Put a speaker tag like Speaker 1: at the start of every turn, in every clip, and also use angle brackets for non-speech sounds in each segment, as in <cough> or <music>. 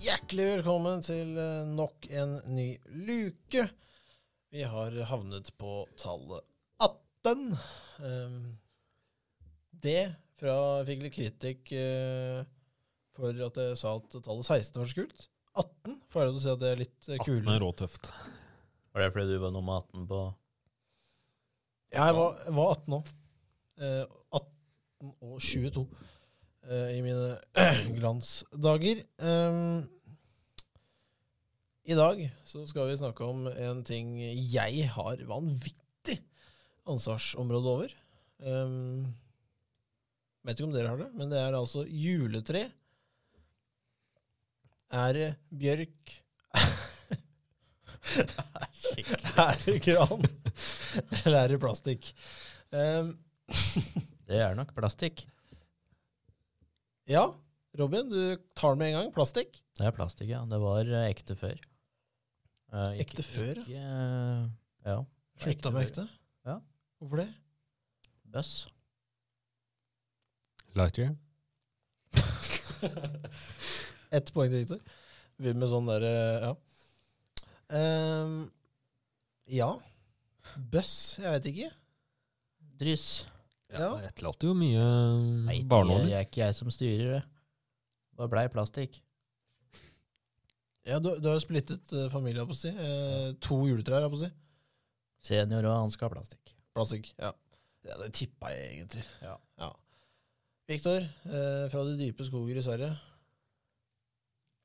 Speaker 1: Hjertelig velkommen til eh, nok en ny luke. Vi har havnet på tallet 18. Ehm, Det fra jeg fikk litt kritikk eh, for at jeg sa at tallet 16 var så kult. 18 får jeg lov til å si at det er litt eh,
Speaker 2: 18
Speaker 1: kulere.
Speaker 2: er råtøft.
Speaker 3: Var det fordi du var nummer 18 på
Speaker 1: Ja, jeg var, jeg var 18 år. Eh, 18 og 22 eh, i mine <clears throat> glansdager. Ehm, I dag så skal vi snakke om en ting jeg har vanvittig ansvarsområde over. Ehm, vet ikke om dere har det, men det er altså juletre. Ære bjørk. <laughs> Ære gran. Eller ære plastikk. Ehm,
Speaker 3: Det er nok plastikk.
Speaker 1: Ja, Robin, du tar den med en gang. Plastikk.
Speaker 3: Det er plastikk, ja. Det var eh, ekte før. Eh, ikke-
Speaker 1: Ekte før, ja.
Speaker 3: Ikke, eh, ja.
Speaker 1: Slutta med ekte.
Speaker 3: Ja.
Speaker 1: Hvorfor det?
Speaker 3: Bøss.
Speaker 2: Lightyear.
Speaker 1: <laughs> Ett poeng til Victor. Vi med sånn derre Ja. Ehm, ja. Bøss, jeg veit ikke.
Speaker 3: Dryss.
Speaker 1: Ja.
Speaker 2: Ja. Jeg etterlater jo mye eh, Mm,
Speaker 3: Nei, det
Speaker 2: barnåler.
Speaker 3: er ikke jeg som styrer det. Bare blei plastikk.
Speaker 1: Ja, du, du har jo splittet eh, familie, holdt på å si. Eh, to juletrær, holdt på å si.
Speaker 3: Senior og han skal ha plastikk.
Speaker 1: Plastikk. Ja. ja det tippa jeg egentlig.
Speaker 3: Ja.
Speaker 1: ja. Victor, eh, fra de dype skoger i Sverige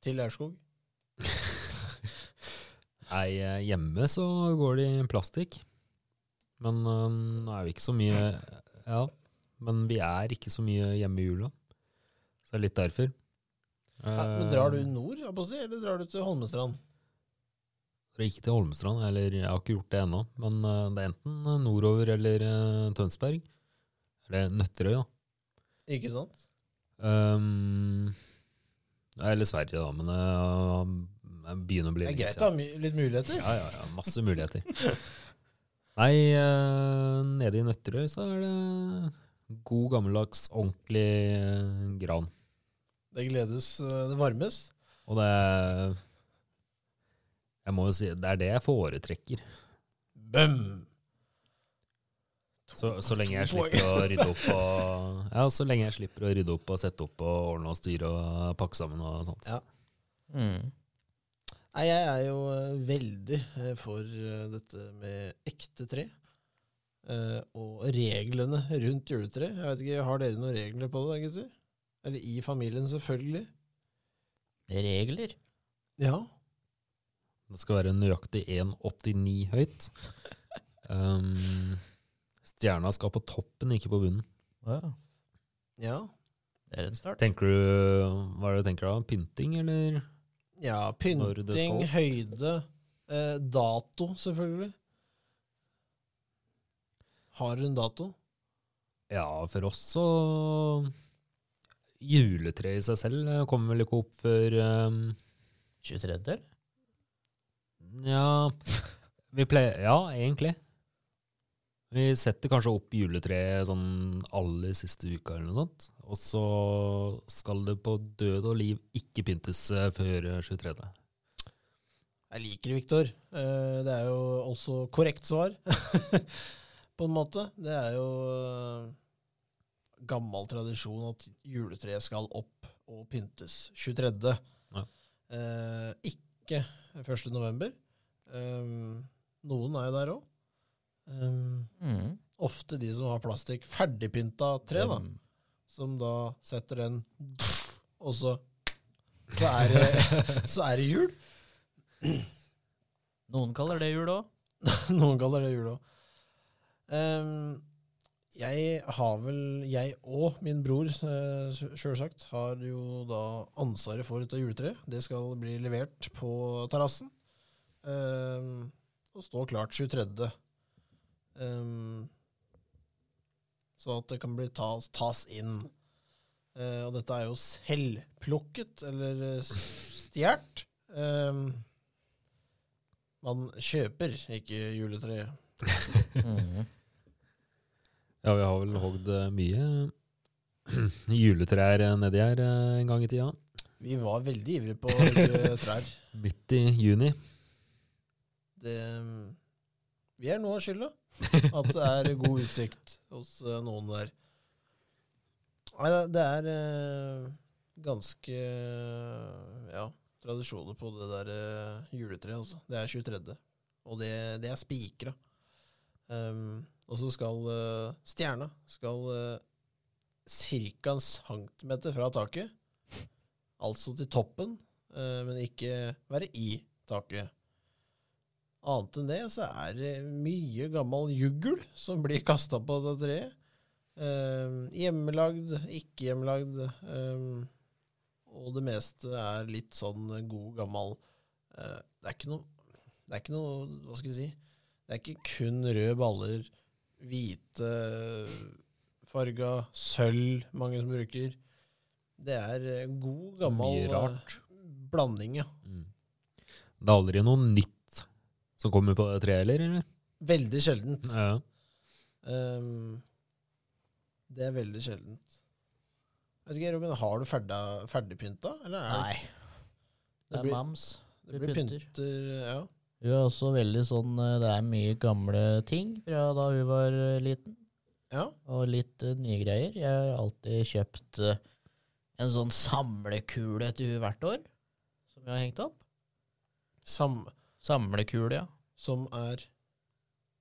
Speaker 1: til Aurskog.
Speaker 2: Nei, eh, hjemme så går det i plastikk. Men eh, nå er vi ikke så mye Ja, men vi er ikke så mye hjemme i jula. Så det er litt derfor.
Speaker 1: Ja, men drar du nord, holdt på å si, eller drar du til Holmestrand?
Speaker 2: Eh, Ikke til Holmestrand, eller jeg har ikke gjort det ennå. Men eh, det er enten nordover eller eh, Tønsberg. Eller Nøtterøy, da.
Speaker 1: Ikke sant?
Speaker 2: Um, nei, eller Sverige, da, men eh, jeg begynner å bli
Speaker 1: Det er
Speaker 2: lenge
Speaker 1: greit å
Speaker 2: siden.
Speaker 1: ha my- litt muligheter.
Speaker 2: sånn. Ja, ja, ja, masse muligheter. Nei, eh, nede i Nøtterøy så er det god, gammeldags, ordentlig eh, gran.
Speaker 1: Det gledes, eh, det varmes.
Speaker 2: Og det er Jeg må jo si det er det jeg foretrekker.
Speaker 1: Bøm!
Speaker 2: Så, så lenge jeg
Speaker 1: to poeng.
Speaker 2: slipper å rydde opp og Ja, så lenge jeg slipper å rydde opp og sette opp og ordne og styre og pakke sammen og sånt.
Speaker 1: Ja. <laughs>
Speaker 3: Mm.
Speaker 1: Nei, jeg er jo eh, veldig eh, for eh, dette med ekte tre. eh, Og reglene rundt juletre. Jeg vet ikke, Har dere noen regler på det, gutter? Eller i familien, selvfølgelig.
Speaker 3: Regler.
Speaker 1: Ja.
Speaker 2: Det skal være nøyaktig 1,89 høyt. Um, stjerna skal på toppen, ikke på bunnen.
Speaker 3: Ja,
Speaker 1: Ja,
Speaker 3: det er en start.
Speaker 2: Tenker du, Hva er det du tenker da? Pynting, eller?
Speaker 1: ja
Speaker 2: Når det
Speaker 1: pynting,
Speaker 2: skal.
Speaker 1: høyde, eh, dato, selvfølgelig. Har hun dato?
Speaker 2: Ja, for oss så Juletreet i seg selv eh, kommer vel ikke opp før um,
Speaker 3: 23. eller?
Speaker 2: Ja, vi pleier Ja, egentlig. Vi setter kanskje opp juletreet sånn aller siste uka eller noe sånt. Og så skal det på død og liv ikke pyntes eh, før eh, 23.
Speaker 1: Jeg liker det, Viktor. Eh, Det er jo også korrekt svar, <laughs> på en måte. Det er jo eh, gammel tradisjon at juletreet skal opp og pyntes 23.
Speaker 2: Ja.
Speaker 1: Eh, Ikke 1. november. Um, Noen er jo der Eh, òg.
Speaker 3: Mm.
Speaker 1: Ofte de som har plastikk ferdigpynta tre, da, som da setter den Og så så er det, så er det jul.
Speaker 3: Noen kaller det jul òg.
Speaker 1: <laughs> Noen kaller det jul òg. jeg har vel Jeg og min bror, uh, sjølsagt, har jo da ansvaret for dette juletreet. Det skal bli levert på terrassen. Ehm, og stå klart 23. Ehm, så at det kan bli tas, tas inn. Eh, og dette er jo selvplukket, eller eh, stjålet. Ehm, man kjøper ikke juletreet. <laughs>
Speaker 3: Mm.
Speaker 2: Ja, vi har <clears throat> vel hogd eh, mye juletrær eh, nedi her eh, en gang i tida.
Speaker 1: Vi var veldig ivrige på å hugge trær.
Speaker 2: Midt i juni.
Speaker 1: Det, eh, vi er noe av skylda. At det er god utsikt hos eh, noen der. Nei, det- det er eh, ganske ja, tradisjoner på det der eh, juletreet. Altså. Det er 23., og det, det er spikra. Um, og så skal eh, stjerna skal uh, ca. en centimeter fra taket, altså til toppen, eh, men ikke være i taket. Annet enn det så er det mye gammel juggel som blir kasta på det treet. Ehm, hjemmelagd, ikke hjemmelagd. ehm, og det meste er litt sånn god, gammel eh, Det er ikke noe Det er ikke noe Hva skal jeg si? Det er ikke kun røde baller, hvite farga, sølv mange som bruker. Det er eh, god, gammel
Speaker 2: Mye rart.
Speaker 1: eh, blanding, ja.
Speaker 2: Mm. Det er aldri noe nytt som kommer på det treet heller, eller?
Speaker 1: Veldig sjeldent.
Speaker 2: Ja.
Speaker 1: Ehm, det er veldig sjeldent. Jeg vet ikke, Robin, Har du ferda, ferdigpynta? Eller er
Speaker 3: Nei. Det er
Speaker 1: blir-
Speaker 3: mams.
Speaker 1: det, det blir
Speaker 3: vi
Speaker 1: pynter.
Speaker 3: pynter.
Speaker 1: ja.
Speaker 3: Hun er også veldig sånn eh, Det er mye gamle ting fra da hun var eh, liten,
Speaker 1: ja.
Speaker 3: og litt eh, nye greier. Jeg har alltid kjøpt eh, en sånn samlekule til hun hvert år, som jeg har hengt opp.
Speaker 1: Sam,
Speaker 3: Samlekule, ja.
Speaker 1: som er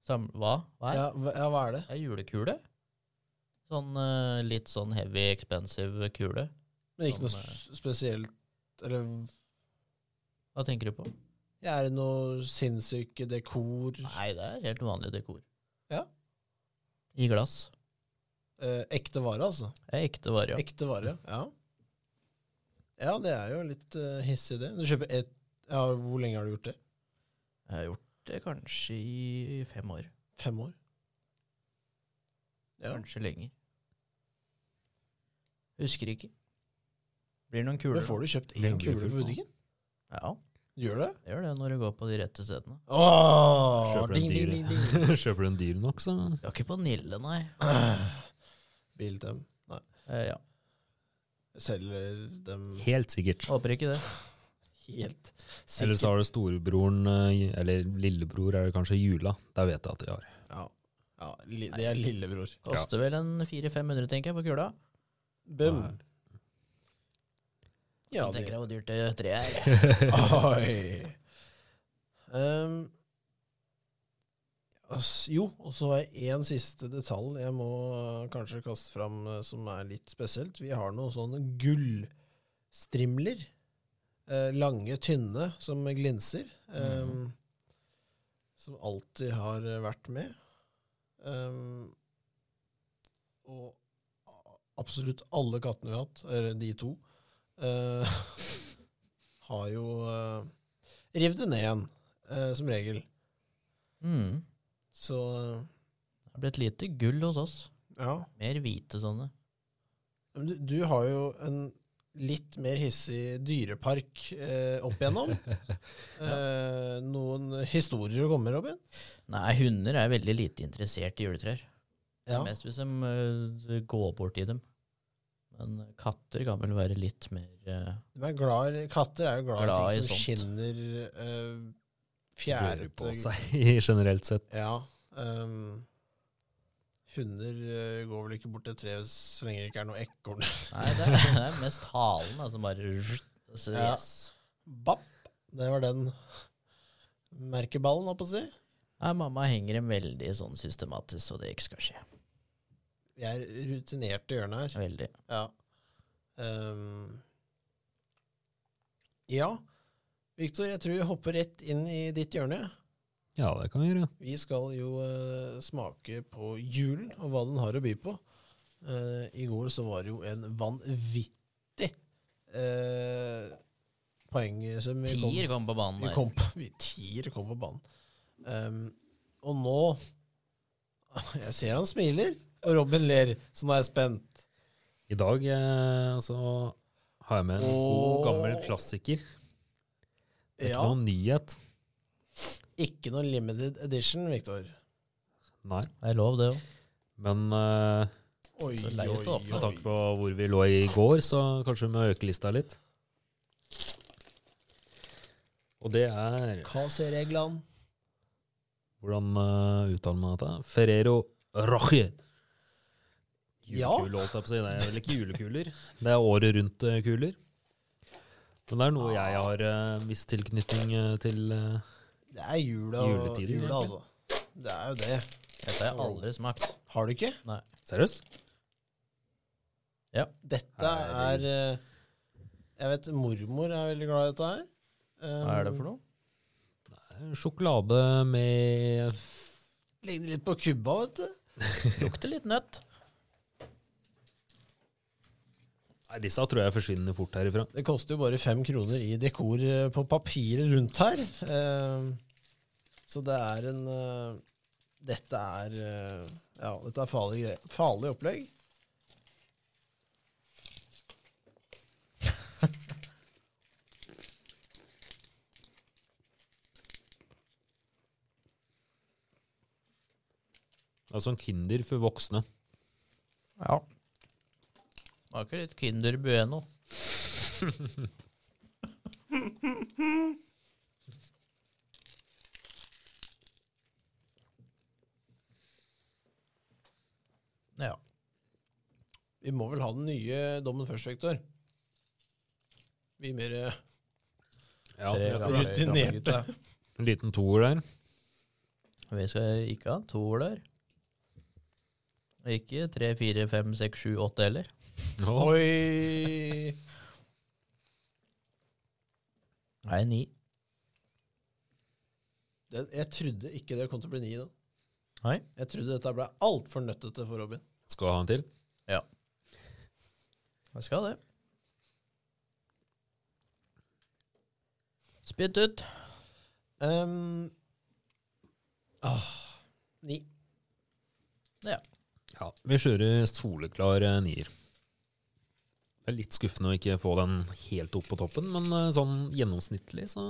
Speaker 3: Sam hva? Hva er det?
Speaker 1: ja, hva- ja, hva er det?
Speaker 3: Det er julekule. Sånn eh, litt sånn heavy, expensive kule.
Speaker 1: Men ikke noe
Speaker 3: Som,
Speaker 1: s- spesielt Eller
Speaker 3: Hva tenker du på?
Speaker 1: ja, er det noe sinnssyke dekor?
Speaker 3: Nei, det er helt vanlig dekor.
Speaker 1: Ja.
Speaker 3: I glass.
Speaker 1: Eh, ekte vare, altså?
Speaker 3: Det er ekte vare, ja.
Speaker 1: Ekte vare, ja. Ja, det er jo litt eh, hissig, det. Du kjøper ett ja, Hvor lenge har du gjort det?
Speaker 3: Jeg har gjort det kanskje i fem år.
Speaker 1: Fem år? Ja.
Speaker 3: Kanskje lenger. Husker ikke. Blir noen kuler.
Speaker 1: Men får du kjøpt
Speaker 2: Blir
Speaker 1: én
Speaker 2: det
Speaker 1: kule på
Speaker 2: fullt, da?
Speaker 1: butikken?
Speaker 3: Ja,
Speaker 1: Gjør du det?
Speaker 3: det gjør det når du går på de rette stedene.
Speaker 1: Åh,
Speaker 2: Kjøper du
Speaker 1: Ah, ding,
Speaker 2: en
Speaker 1: ding, ding,
Speaker 2: <laughs>
Speaker 1: ding.
Speaker 2: dyr, Kjøper du en dyr nok, så
Speaker 3: Du er ikke på Nille,
Speaker 1: <clears throat>
Speaker 3: nei.
Speaker 1: Bil dem.
Speaker 3: Eh, ja,
Speaker 1: Selger dem
Speaker 2: Helt sikkert.
Speaker 3: Håper ikke det.
Speaker 1: helt
Speaker 2: Eller så
Speaker 1: Ah, sikkert.
Speaker 2: har du storebroren, eh, eller lillebror, er det kanskje jula. Der vet jeg at de har.
Speaker 1: Ja. Ja, li, det er lillebror.
Speaker 3: Koster vel en 400-500, tenker jeg, på kula.
Speaker 1: Bum. Ja,
Speaker 3: Ja,
Speaker 1: det
Speaker 3: tenker jeg hvor dyrt det treet er.
Speaker 1: Ah,
Speaker 2: <laughs>
Speaker 1: Oi. Ehm, ass, jo, og så har jeg én siste detalj jeg må eh, kanskje kaste fram eh, som er litt spesielt. Vi har sånn noen sånne gullstrimler. Eh, lange, tynne, som glinser. ehm,
Speaker 3: Mhm.
Speaker 1: Som alltid har eh, vært med. Ehm, og a- absolutt alle kattene vi har hatt, eller de to, eh, <laughs> har jo uh, revet det ned igjen, eh, som regel.
Speaker 3: Mm.
Speaker 1: Så eh,
Speaker 3: Det ble et lite gull hos oss.
Speaker 1: ja.
Speaker 3: Mer hvite sånne.
Speaker 1: Men Du, du har jo en litt mer hissig dyrepark eh, opp
Speaker 2: <laughs>
Speaker 1: igjennom. Eh, noen historier å komme med, Robin?
Speaker 3: Nei, hunder er veldig lite interessert i juletrær.
Speaker 1: Ja.
Speaker 3: Mest hvis de eh, går bort i dem. Men katter kan vel være litt mer eh,
Speaker 1: De er glad, i- katter er jo glad,
Speaker 3: Glad
Speaker 1: i
Speaker 3: i
Speaker 1: ting som
Speaker 3: sånt.
Speaker 1: skinner eh,
Speaker 2: Rører
Speaker 1: fjærete
Speaker 2: på seg <laughs> generelt sett.
Speaker 1: Ja. ehm, hunder eh, går vel ikke bort til et tre så lenge det ikke er noe ekorn. <laughs>
Speaker 3: Nei, det er, <laughs> det er mest halen da, som bare så,
Speaker 1: Ja.
Speaker 3: yes.
Speaker 1: Bapp! Det var den merkeballen, holdt på å si.
Speaker 3: Nei, mamma henger dem veldig sånn systematisk, så det ikke skal skje.
Speaker 1: Vi er rutinerte i hjørnet her.
Speaker 3: Veldig.
Speaker 1: Ja. Ehm, ja. Viktor, jeg tror vi hopper rett inn i ditt hjørne.
Speaker 2: Ja, det kan vi gjøre.
Speaker 1: Vi skal jo eh, smake på julen og hva den har å by på. Eh, I går så var det jo en vanvittig uh, poengsum vi kom
Speaker 3: Tier kom på banen
Speaker 1: vi
Speaker 3: der.
Speaker 1: kom på, vi tier kom på banen. Ehm, og nå <laughs> Jeg ser han smiler, og Robin ler, så nå er jeg spent.
Speaker 2: I dag eh, så har jeg med en god, gammel
Speaker 1: Åh.
Speaker 2: klassiker. Det er
Speaker 1: Ja.
Speaker 2: ikke noen nyhet.
Speaker 1: Ikke noe limited edition, Viktor.
Speaker 2: Nei.
Speaker 3: Det er lov, det òg.
Speaker 2: Men eh,
Speaker 1: Oi,
Speaker 3: Det er leit å åpne
Speaker 2: med tanke på hvor vi lå i går, så kanskje vi må øke lista litt. Og det er
Speaker 1: KC-reglene.
Speaker 2: Hvordan eh, uttaler man dette? Ferrero Rocher.
Speaker 1: Ja.
Speaker 2: Julekule, holdt jeg på å si. Det er vel ikke julekuler. Det er året rundt-kuler. Men det er noe jeg har eh, viss tilknytning eh, til. eh.
Speaker 1: Det er jula,
Speaker 2: Juletider,
Speaker 1: jula
Speaker 2: egentlig.
Speaker 1: altså. Det er jo det.
Speaker 3: Dette har jeg aldri smakt.
Speaker 1: Har du ikke?
Speaker 2: Seriøst?
Speaker 1: Dette
Speaker 2: Nei,
Speaker 1: er eh, Jeg vet mormor er veldig glad i dette her.
Speaker 3: Hva er det for noe?
Speaker 2: Sjokolade med
Speaker 1: Um, Ligner litt på Cuba, vet du.
Speaker 3: Lukter litt nøtt.
Speaker 2: Nei, disse tror jeg forsvinner fort herifra.
Speaker 1: Det koster jo bare fem kroner i dekor eh, på papiret rundt her. Eh, Så det er en eh, Dette er eh, Ja, dette er farlig, gre- farlig opplegg.
Speaker 2: Altså en Kinder for voksne.
Speaker 3: Ja. Smaker litt Kinder Bueno. ja.
Speaker 1: Vi må vel ha den nye dommen først, Vektor. Vi mer eh,
Speaker 2: Ja,
Speaker 3: Tre
Speaker 2: jeg tror
Speaker 3: ganger.
Speaker 2: det.
Speaker 1: rutinerte.
Speaker 2: En liten toer der.
Speaker 3: Vi skal ikke ha to år der. Og Ikke tre, fire, fem, seks, sju, åtte heller.
Speaker 2: Å,
Speaker 1: Oi!
Speaker 3: Nei, ni.
Speaker 1: Den, jeg trodde ikke det kom til å bli ni. Da.
Speaker 3: Nei.
Speaker 1: Jeg trodde dette ble altfor nøttete for Robin.
Speaker 2: skal jeg ha en til?
Speaker 3: Jeg skal det. Spytt ut.
Speaker 1: Ehm, ah, ni.
Speaker 2: Ja, vi kjører soleklar eh, nier. Det er litt skuffende å ikke få den helt opp på toppen, men eh, sånn gjennomsnittlig, så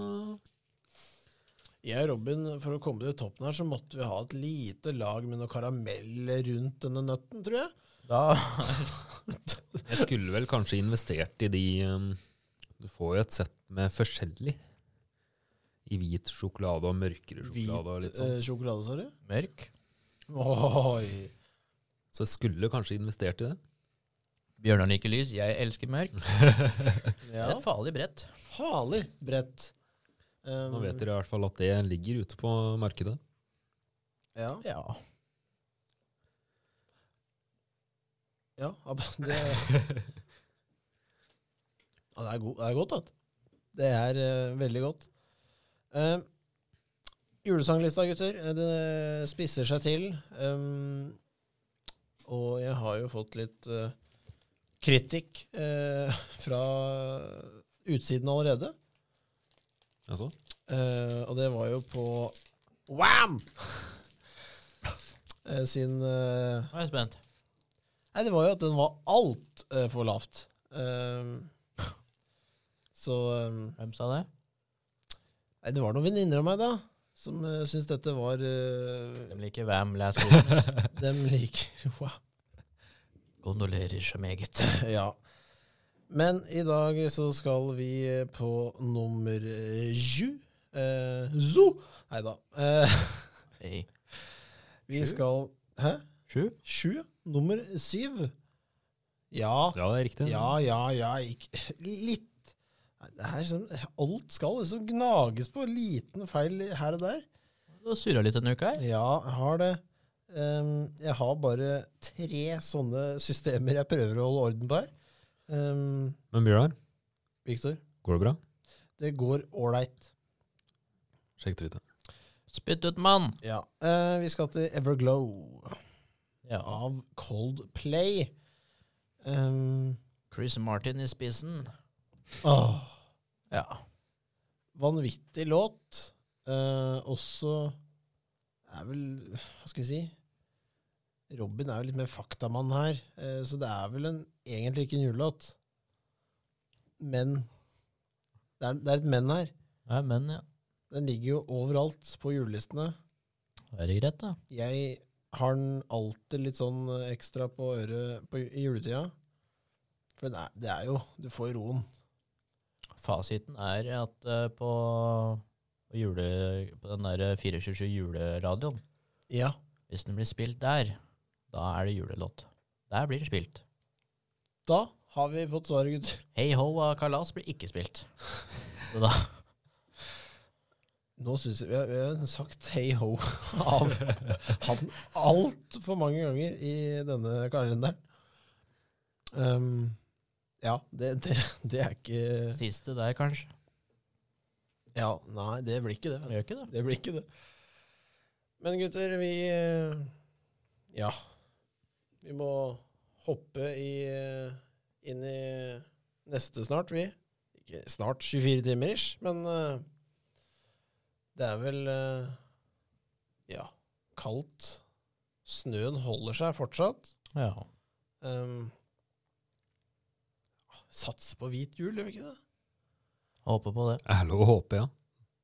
Speaker 1: Jeg og Robin, for å komme til toppen her, så måtte vi ha et lite lag med noe karamell rundt denne nøtten, tror jeg.
Speaker 3: Da
Speaker 2: Jeg skulle vel kanskje investert i de eh, Du får jo et sett med forskjellig. I hvit sjokolade og mørkere sjokolade og litt
Speaker 1: Hvit
Speaker 2: sånn.
Speaker 1: eh, sjokolade, sorry.
Speaker 3: Mørk.
Speaker 2: <laughs>
Speaker 1: Oi.
Speaker 2: Så jeg skulle kanskje investert i det.
Speaker 3: Bjørnar liker lys, jeg elsker mørk. Det
Speaker 1: Ja.
Speaker 3: er et farlig brett.
Speaker 1: Farlig bredt. Ehm,
Speaker 2: Nå vet dere i hvert fall at det ligger ute på markedet.
Speaker 1: Ja,
Speaker 3: Ja.
Speaker 1: ja ab- det, ja, det, er god, det er godt, da. Det er eh, veldig godt. Eh, julesanglista, gutter, eh, det spisser seg til. Ehm, og jeg har jo fått litt eh, kritikk eh, fra utsiden allerede.
Speaker 2: Altså,
Speaker 1: Eh, og det var jo på Wham! <laughs> Eh, sin eh,
Speaker 3: Nå er jeg spent.
Speaker 1: Nei, det var jo at den var altfor for lavt. Ehm, så ehm,
Speaker 3: Hvem sa det?
Speaker 1: Nei, det var noen venninner av meg, da, som uh, syntes dette var eh,
Speaker 3: De liker Vam <laughs> Last Christmas.
Speaker 1: Dem liker <laughs> Wow.
Speaker 3: Gondolerer så meget.
Speaker 1: Ja. Men i dag så skal vi eh, på nummer eh, sju. Uh, zoo! Nei da. Eh,
Speaker 3: Hei.
Speaker 1: vi
Speaker 2: Sju?
Speaker 1: skal Hæ?
Speaker 3: Sju?
Speaker 1: Sju? Nummer syv? Ja.
Speaker 2: ja, det er riktig.
Speaker 1: Ja, ja, ja. Ikke, litt. Nei, Det er som, alt skal liksom gnages på. Liten feil her og der.
Speaker 3: Du har surra litt denne uka her.
Speaker 1: Ja, jeg har det. Ehm, jeg har bare tre sånne systemer jeg prøver å holde orden på her. Um,
Speaker 2: Men Bjørnar,
Speaker 1: Viktor,
Speaker 2: går det bra?
Speaker 1: det går ålreit.
Speaker 2: Sjekk det ut. da.
Speaker 3: Spytt ut, mann!
Speaker 1: Ja. Eh, vi skal til Everglow
Speaker 3: Ja.
Speaker 1: av Coldplay. Um,
Speaker 3: Chris Martin i spissen.
Speaker 1: åh.
Speaker 3: Ja.
Speaker 1: vanvittig låt. Eh, også er vel Hva skal vi si? Robin er jo litt mer faktamann her, eh, så det er vel en, egentlig ikke en julelåt. Men det er, det er et men her.
Speaker 3: Nei, men ja.
Speaker 1: Den ligger jo overalt på julelistene.
Speaker 3: Da er det greit, da.
Speaker 1: Jeg har den alltid litt sånn eh, ekstra på øret på, i juletida. For den er, det er jo Du får roen.
Speaker 3: fasiten er at eh, på, på, jule, på den der 24 juleradioen,
Speaker 1: Ja.
Speaker 3: hvis den blir spilt der, da er det julelåt. Der blir den spilt.
Speaker 1: Da har vi fått svaret, gutter.
Speaker 3: Hei ho av kalas blir ikke spilt. Så da
Speaker 1: Nå syns jeg vi har, vi har sagt hei ho <laughs> av han altfor mange ganger i denne kalenderen. Ehm, ja, det, det, det er ikke
Speaker 3: siste der, kanskje.
Speaker 1: Ja, nei, det blir ikke det. Vet
Speaker 3: Den
Speaker 1: du.
Speaker 3: gjør ikke det.
Speaker 1: Det blir ikke det. Men gutter, vi eh, Ja. Vi må hoppe i, eh, inn i neste snart, vi. Ikke snart 24 timer ish, men eh, det er vel eh, Ja, kaldt. Snøen holder seg fortsatt.
Speaker 3: Ja.
Speaker 1: Um, Satse ah, på hvit jul, gjør vi ikke det?
Speaker 3: Håper på det.
Speaker 2: Er det lov å håpe, ja.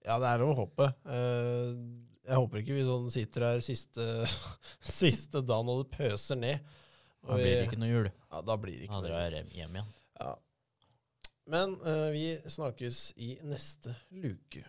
Speaker 1: Ja, det er lov å håpe. Eh, jeg håper ikke vi sånn sitter her siste, <laughs> siste dagen og det pøser ned.
Speaker 3: Da blir det ikke noe jul.
Speaker 1: Ja, da blir det
Speaker 3: Da
Speaker 1: ikke noe.
Speaker 3: drar jeg hjem igjen.
Speaker 1: Ja. Men eh, vi snakkes i neste luke.